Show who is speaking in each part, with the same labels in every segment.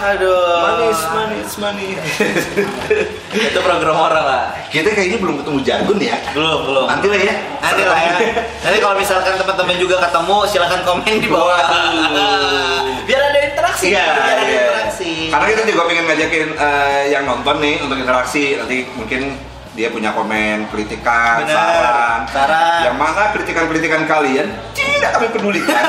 Speaker 1: Aduh.
Speaker 2: Manis, manis, manis. Itu program orang lah.
Speaker 1: Kita kayaknya belum ketemu Jagun ya.
Speaker 2: Belum, belum.
Speaker 1: Nanti lah ya.
Speaker 2: Nanti lah ya. Nanti kalau misalkan teman-teman juga ketemu, silahkan komen di bawah.
Speaker 1: Waduh.
Speaker 2: Biar ada interaksi.
Speaker 1: Iya,
Speaker 2: biar ada
Speaker 1: iya.
Speaker 2: interaksi.
Speaker 1: Karena kita juga pengen ngajakin eh, yang nonton nih untuk interaksi. Nanti mungkin dia punya komen, kritikan,
Speaker 2: Bener.
Speaker 1: saran.
Speaker 2: Saran.
Speaker 1: Yang mana kritikan-kritikan kalian tidak kami pedulikan.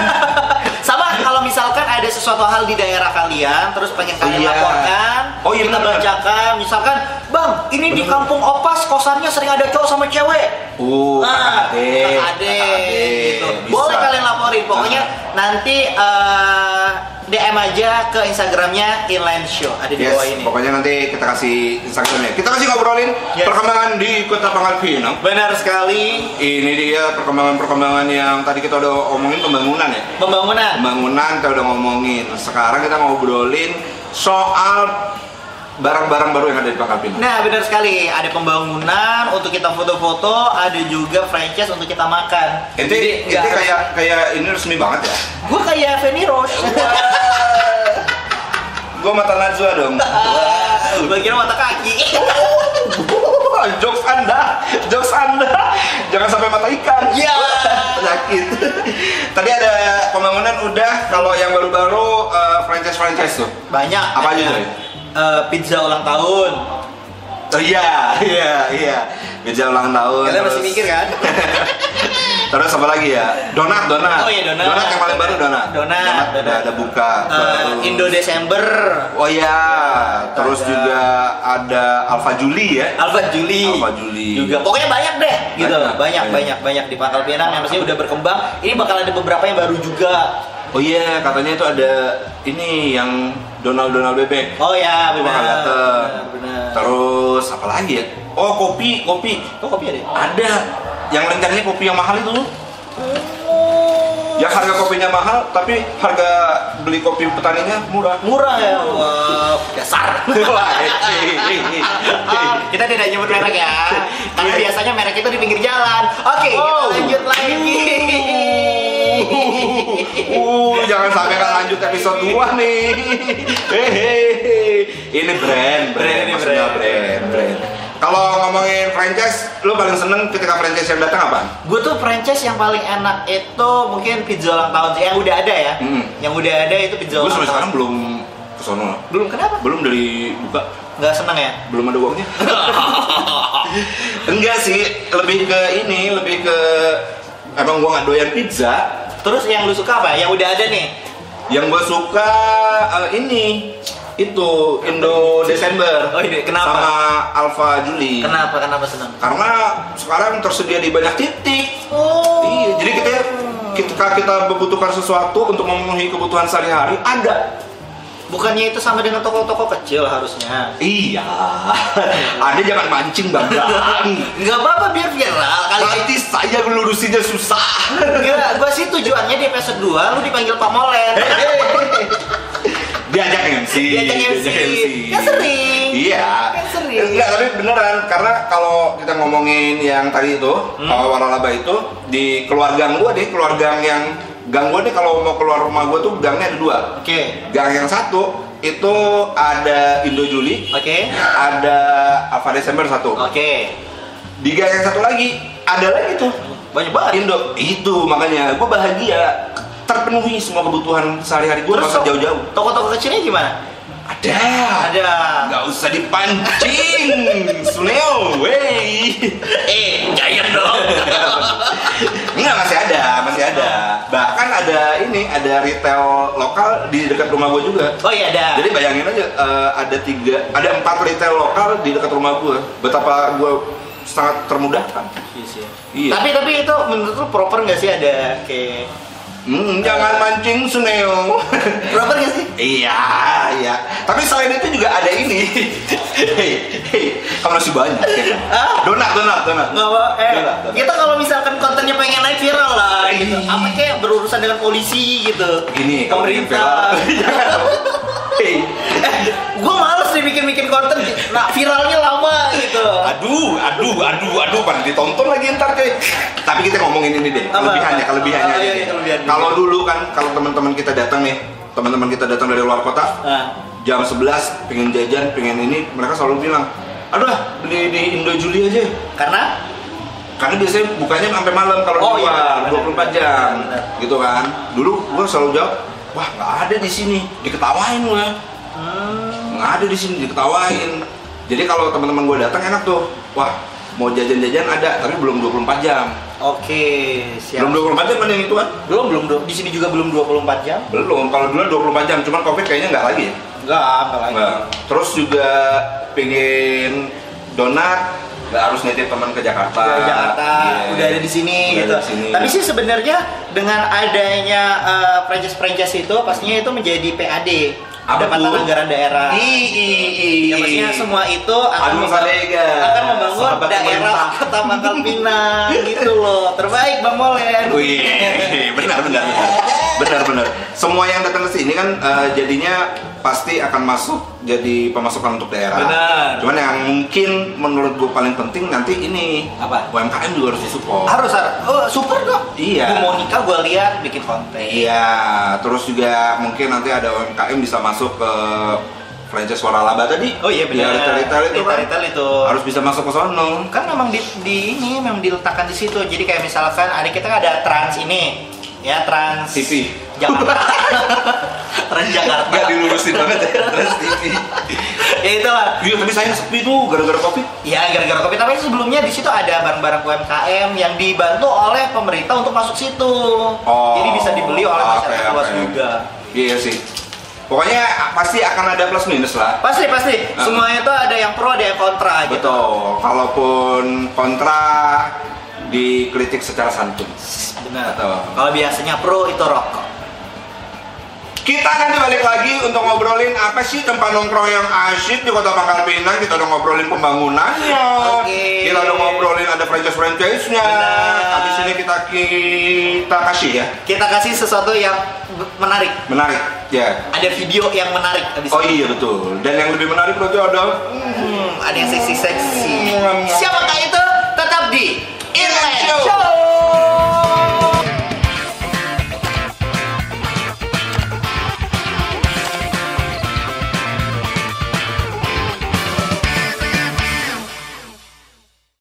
Speaker 2: Sama kalau misalkan ada sesuatu hal di daerah kalian, terus pengen
Speaker 1: Oh,
Speaker 2: kalian
Speaker 1: iya.
Speaker 2: laporkan,
Speaker 1: Oh, iya,
Speaker 2: kita
Speaker 1: benar.
Speaker 2: bacakan. Misalkan, Bang, ini di
Speaker 1: Benar.
Speaker 2: kampung Opas kosannya sering ada cowok sama cewek.
Speaker 1: Uh,
Speaker 2: Nah,
Speaker 1: kakak Ade.
Speaker 2: Kakak
Speaker 1: Kakak
Speaker 2: Ade,
Speaker 1: Ade,
Speaker 2: gitu.
Speaker 1: bisa.
Speaker 2: Boleh kalian laporin, pokoknya nanti eh, DM aja ke Instagramnya Inline Show ada di
Speaker 1: Ah, Yes,
Speaker 2: bawah ini.
Speaker 1: pokoknya nanti kita kasih Instagramnya. Kita kasih ngobrolin
Speaker 2: Yes.
Speaker 1: perkembangan di Kota Pangkal Pinang.
Speaker 2: Benar sekali
Speaker 1: Ini dia perkembangan-perkembangan yang tadi kita udah omongin pembangunan ya.
Speaker 2: pembangunan.
Speaker 1: Pembangunan kita udah ngomongin. Sekarang kita ngobrolin soal barang-barang baru yang ada di Pangkal Pinang.
Speaker 2: Nah, benar sekali. Ada pembangunan untuk kita foto-foto, ada juga franchise untuk kita makan.
Speaker 1: Itu itu
Speaker 2: nggak-
Speaker 1: kayak kayak ini resmi banget ya.
Speaker 2: Gue kayak Feni Rose.
Speaker 1: Gue mata Najwa dong.
Speaker 2: Ah, Gue kira mata kaki.
Speaker 1: jokes anda, jokes anda, jangan sampai mata ikan.
Speaker 2: Ya.
Speaker 1: Penyakit. Tadi ada pembangunan udah. Kalau yang baru-baru franchise franchise tuh.
Speaker 2: Banyak.
Speaker 1: Apa aja, Joy?
Speaker 2: Eh, pizza ulang tahun.
Speaker 1: Oh iya, iya, iya. Meja ulang tahun.
Speaker 2: Kalian
Speaker 1: terus-
Speaker 2: masih mikir kan?
Speaker 1: Terus apa lagi ya? Donat, donat.
Speaker 2: Oh iya, donat.
Speaker 1: yang paling baru donat.
Speaker 2: Donat,
Speaker 1: udah
Speaker 2: donat.
Speaker 1: ada buka.
Speaker 2: Eh,
Speaker 1: Terus-
Speaker 2: Indo Desember.
Speaker 1: Oh iya, terus
Speaker 2: Ada-
Speaker 1: juga ada Alfa Juli ya.
Speaker 2: Alfa Juli.
Speaker 1: Alfa Juli.
Speaker 2: Juga pokoknya banyak deh gitu.
Speaker 1: Banyak,
Speaker 2: Banyak banyak
Speaker 1: banyak.
Speaker 2: banyak, di Pangkal Pinang yang maksudnya udah berkembang. Ini bakal ada beberapa yang baru juga.
Speaker 1: Oh iya, katanya itu ada ini yang Donald Donald bebek.
Speaker 2: Oh ya,
Speaker 1: Itu bakal
Speaker 2: benar.
Speaker 1: dateng.
Speaker 2: Benar.
Speaker 1: Terus apa lagi ya? Oh kopi, kopi.
Speaker 2: Kok kopi ada?
Speaker 1: Ada. Yang rencananya kopi yang mahal itu. Yang harga kopinya mahal, tapi harga beli kopi petaninya murah. Eh,
Speaker 2: Murah ya. Wah, dasar. Ah,
Speaker 1: Wah, eh, eh, eh.
Speaker 2: kita tidak nyebut merek ya
Speaker 1: Iya.
Speaker 2: karena biasanya merek itu di pinggir jalan oke kita
Speaker 1: Oh.
Speaker 2: lanjut lagi
Speaker 1: Uh, jangan sampai nggak lanjut episode 2 nih. Hehehe. Ini brand, brand,
Speaker 2: Brand, ini
Speaker 1: maksudnya
Speaker 2: brand.
Speaker 1: brand, brand. Kalau ngomongin franchise, lo paling seneng ketika franchise yang datang apa?
Speaker 2: gue tuh franchise yang paling enak itu mungkin pizza ulang tahun sih yang udah ada ya
Speaker 1: Mm.
Speaker 2: yang udah ada itu pizza
Speaker 1: Gue
Speaker 2: ulang
Speaker 1: sampai
Speaker 2: tahun
Speaker 1: sekarang belum kesono,
Speaker 2: belum kenapa
Speaker 1: belum dari buka,
Speaker 2: nggak seneng ya
Speaker 1: belum ada uangnya. Enggak sih, lebih ke ini, lebih ke emang gua nggak doyan pizza.
Speaker 2: terus yang lu suka apa yang udah ada nih
Speaker 1: Yang gua suka eh, ini itu Indo Desember
Speaker 2: Oh, ini kenapa?
Speaker 1: sama Alfa Juli.
Speaker 2: kenapa kenapa seneng
Speaker 1: karena sekarang tersedia di banyak titik
Speaker 2: oh
Speaker 1: iya jadi kita ketika kita membutuhkan sesuatu untuk memenuhi kebutuhan sehari-hari ada
Speaker 2: bukannya itu sama dengan toko-toko kecil harusnya
Speaker 1: iya ada jangan mancing bang
Speaker 2: nggak apa-apa biar viral kali
Speaker 1: nanti saya ngelurusinnya susah
Speaker 2: Gila, gua sih tujuannya di episode 2 lu dipanggil Pak Molen.
Speaker 1: diajak MC
Speaker 2: Diajak MC. Kan sering.
Speaker 1: iya
Speaker 2: Kan sering.
Speaker 1: enggak tapi beneran karena kalau kita ngomongin yang tadi itu kalau waralaba itu di keluarga gua deh keluarga yang gang gua deh kalau mau keluar rumah gua tuh gangnya ada dua
Speaker 2: Oke.
Speaker 1: gang yang satu itu ada Indo Juli
Speaker 2: Oke.
Speaker 1: ada Alfa Desember satu
Speaker 2: Oke.
Speaker 1: di gang yang satu lagi ada lagi tuh
Speaker 2: Banyak banget.
Speaker 1: Indo itu makanya gue bahagia terpenuhi semua kebutuhan sehari-hari gue
Speaker 2: to-
Speaker 1: masa jauh-jauh
Speaker 2: Toko-toko kecilnya gimana?
Speaker 1: ada
Speaker 2: Ada.
Speaker 1: nggak usah dipancing Suneo wey
Speaker 2: Eh, cair dong.
Speaker 1: Enggak masih ada, masih ada. Bahkan ada ini, ada retail lokal di dekat rumah gue juga.
Speaker 2: oh iya ada.
Speaker 1: Jadi bayangin aja eh, ada tiga, ada empat retail lokal di dekat rumah gue. Betapa gue sangat termudahkan.
Speaker 2: Iya sih.
Speaker 1: Iya.
Speaker 2: Tapi tapi itu menurut lu proper nggak sih ada kayak
Speaker 1: Hmm, jangan mancing Suneo.
Speaker 2: proper nggak sih?
Speaker 1: iya, iya. Tapi selain itu juga ada ini. Hei, hei, kamu masih banyak. Ya.
Speaker 2: Ah.
Speaker 1: Donat, donat, donat.
Speaker 2: Nggak apa. Eh,
Speaker 1: Donat, donat.
Speaker 2: kita kalau misalkan kontennya pengen naik viral lah gitu.
Speaker 1: Ih.
Speaker 2: Apa kayak berurusan dengan polisi gitu.
Speaker 1: Iya. Gini, kalau bikin
Speaker 2: pemerintah.
Speaker 1: viral. Jangan dong. Hei,
Speaker 2: Gue males nih bikin-bikin konten, nah viralnya lama gitu.
Speaker 1: Aduh, aduh, aduh, aduh, pada ditonton lagi ntar cuy. Tapi kita ngomongin ini deh,
Speaker 2: Apa?
Speaker 1: kelebihannya, kelebihannya
Speaker 2: Oh,
Speaker 1: aja
Speaker 2: iya,
Speaker 1: deh.
Speaker 2: iya, kelebihannya.
Speaker 1: Kalau dulu kan, kalau teman-teman kita datang nih, teman-teman kita datang dari luar kota,
Speaker 2: Nah,
Speaker 1: jam 11 pengen jajan pengen ini mereka selalu bilang aduh ah, beli di Indo Juli aja
Speaker 2: Karena
Speaker 1: karena biasanya bukanya sampai malam kalau
Speaker 2: Oh,
Speaker 1: di
Speaker 2: iya,
Speaker 1: luar
Speaker 2: benar,
Speaker 1: 24 jam
Speaker 2: benar.
Speaker 1: gitu kan dulu gua selalu jawab wah nggak ada di sini diketawain gua
Speaker 2: hmm,
Speaker 1: nggak ada di sini diketawain jadi kalau teman-teman gua datang enak tuh wah mau jajan-jajan ada tapi belum 24 jam
Speaker 2: oke siap. Belum,
Speaker 1: belum 24 jam ada yang itu kan
Speaker 2: belum, du- di sini juga belum 24 jam.
Speaker 1: belum kalau dulu 24 jam cuman covid kayaknya nggak lagi ya
Speaker 2: Enggak, enggak lagi.
Speaker 1: Nah, terus juga pengen donat nggak harus nitip teman ke Jakarta.
Speaker 2: Udah di Jakarta,
Speaker 1: Iya.
Speaker 2: udah ada di sini
Speaker 1: Udah
Speaker 2: gitu.
Speaker 1: ada di sini.
Speaker 2: Tapi sih sebenarnya dengan adanya eh, franchise-franchise itu pastinya itu menjadi PAD,
Speaker 1: Apa
Speaker 2: pendapatan
Speaker 1: tuh? Iya,
Speaker 2: anggaran daerah.
Speaker 1: I i i.
Speaker 2: Ya, maksudnya semua itu akan
Speaker 1: Agung
Speaker 2: membangun,
Speaker 1: Sadega,
Speaker 2: akan membangun
Speaker 1: sahabat
Speaker 2: daerah
Speaker 1: pemerintah.
Speaker 2: Kota Pangkal Pinang gitu loh. Terbaik Bang Molen.
Speaker 1: Wih, benar benar benar. benar benar. Semua yang datang ke sini kan eh, jadinya pasti akan masuk jadi pemasukan untuk daerah.
Speaker 2: Benar.
Speaker 1: Cuman yang mungkin menurut gue paling penting nanti ini
Speaker 2: Apa?
Speaker 1: UMKM juga harus disupport.
Speaker 2: Harus harus. Oh, super dong.
Speaker 1: Iya.
Speaker 2: Bu Monica gue lihat bikin konten.
Speaker 1: Iya, terus juga mungkin nanti ada UMKM bisa masuk ke franchise suara laba tadi.
Speaker 2: Oh iya benar.
Speaker 1: Di retail-retail itu kan
Speaker 2: Retail-retail itu.
Speaker 1: harus bisa masuk ke sono.
Speaker 2: kan memang di, di ini memang diletakkan di situ jadi kayak misalkan ada kita kan ada trans ini ya trans
Speaker 1: TV.
Speaker 2: Jakarta trans Jakarta
Speaker 1: Gak dilurusin banget ya, terus TV.
Speaker 2: ya itulah
Speaker 1: Iya, tapi saya sepi tuh gara-gara covid.
Speaker 2: ya gara-gara covid tapi sebelumnya di situ ada barang-barang UMKM yang dibantu oleh pemerintah untuk masuk situ jadi bisa dibeli oleh
Speaker 1: Oh, oke,
Speaker 2: masyarakat luas
Speaker 1: oke.
Speaker 2: juga
Speaker 1: Iya sih. Pokoknya pasti akan ada plus minus lah.
Speaker 2: pasti pasti
Speaker 1: Ah.
Speaker 2: semuanya itu ada yang pro ada yang kontra gitu
Speaker 1: Betul. Kalaupun kontra dikritik secara santun.
Speaker 2: benar
Speaker 1: Betul.
Speaker 2: kalau biasanya pro itu rokok
Speaker 1: Kita nanti balik lagi untuk ngobrolin apa sih tempat nongkrong yang asyik di Kota Pangkal Pinang. Kita udah ngobrolin pembangunannya.
Speaker 2: Oke.
Speaker 1: Kita udah ngobrolin ada franchise-franchise-nya.
Speaker 2: Benar.
Speaker 1: Habis ini kita kita kasih ya.
Speaker 2: kita kasih sesuatu yang be- menarik
Speaker 1: Menarik. Ya.
Speaker 2: ada video yang menarik habis
Speaker 1: Oh
Speaker 2: ini.
Speaker 1: iya betul. Dan yang lebih menarik nanti ada
Speaker 2: Hmm, ada yang seksi-seksi. Siapakah itu? Tetap di Inline Show.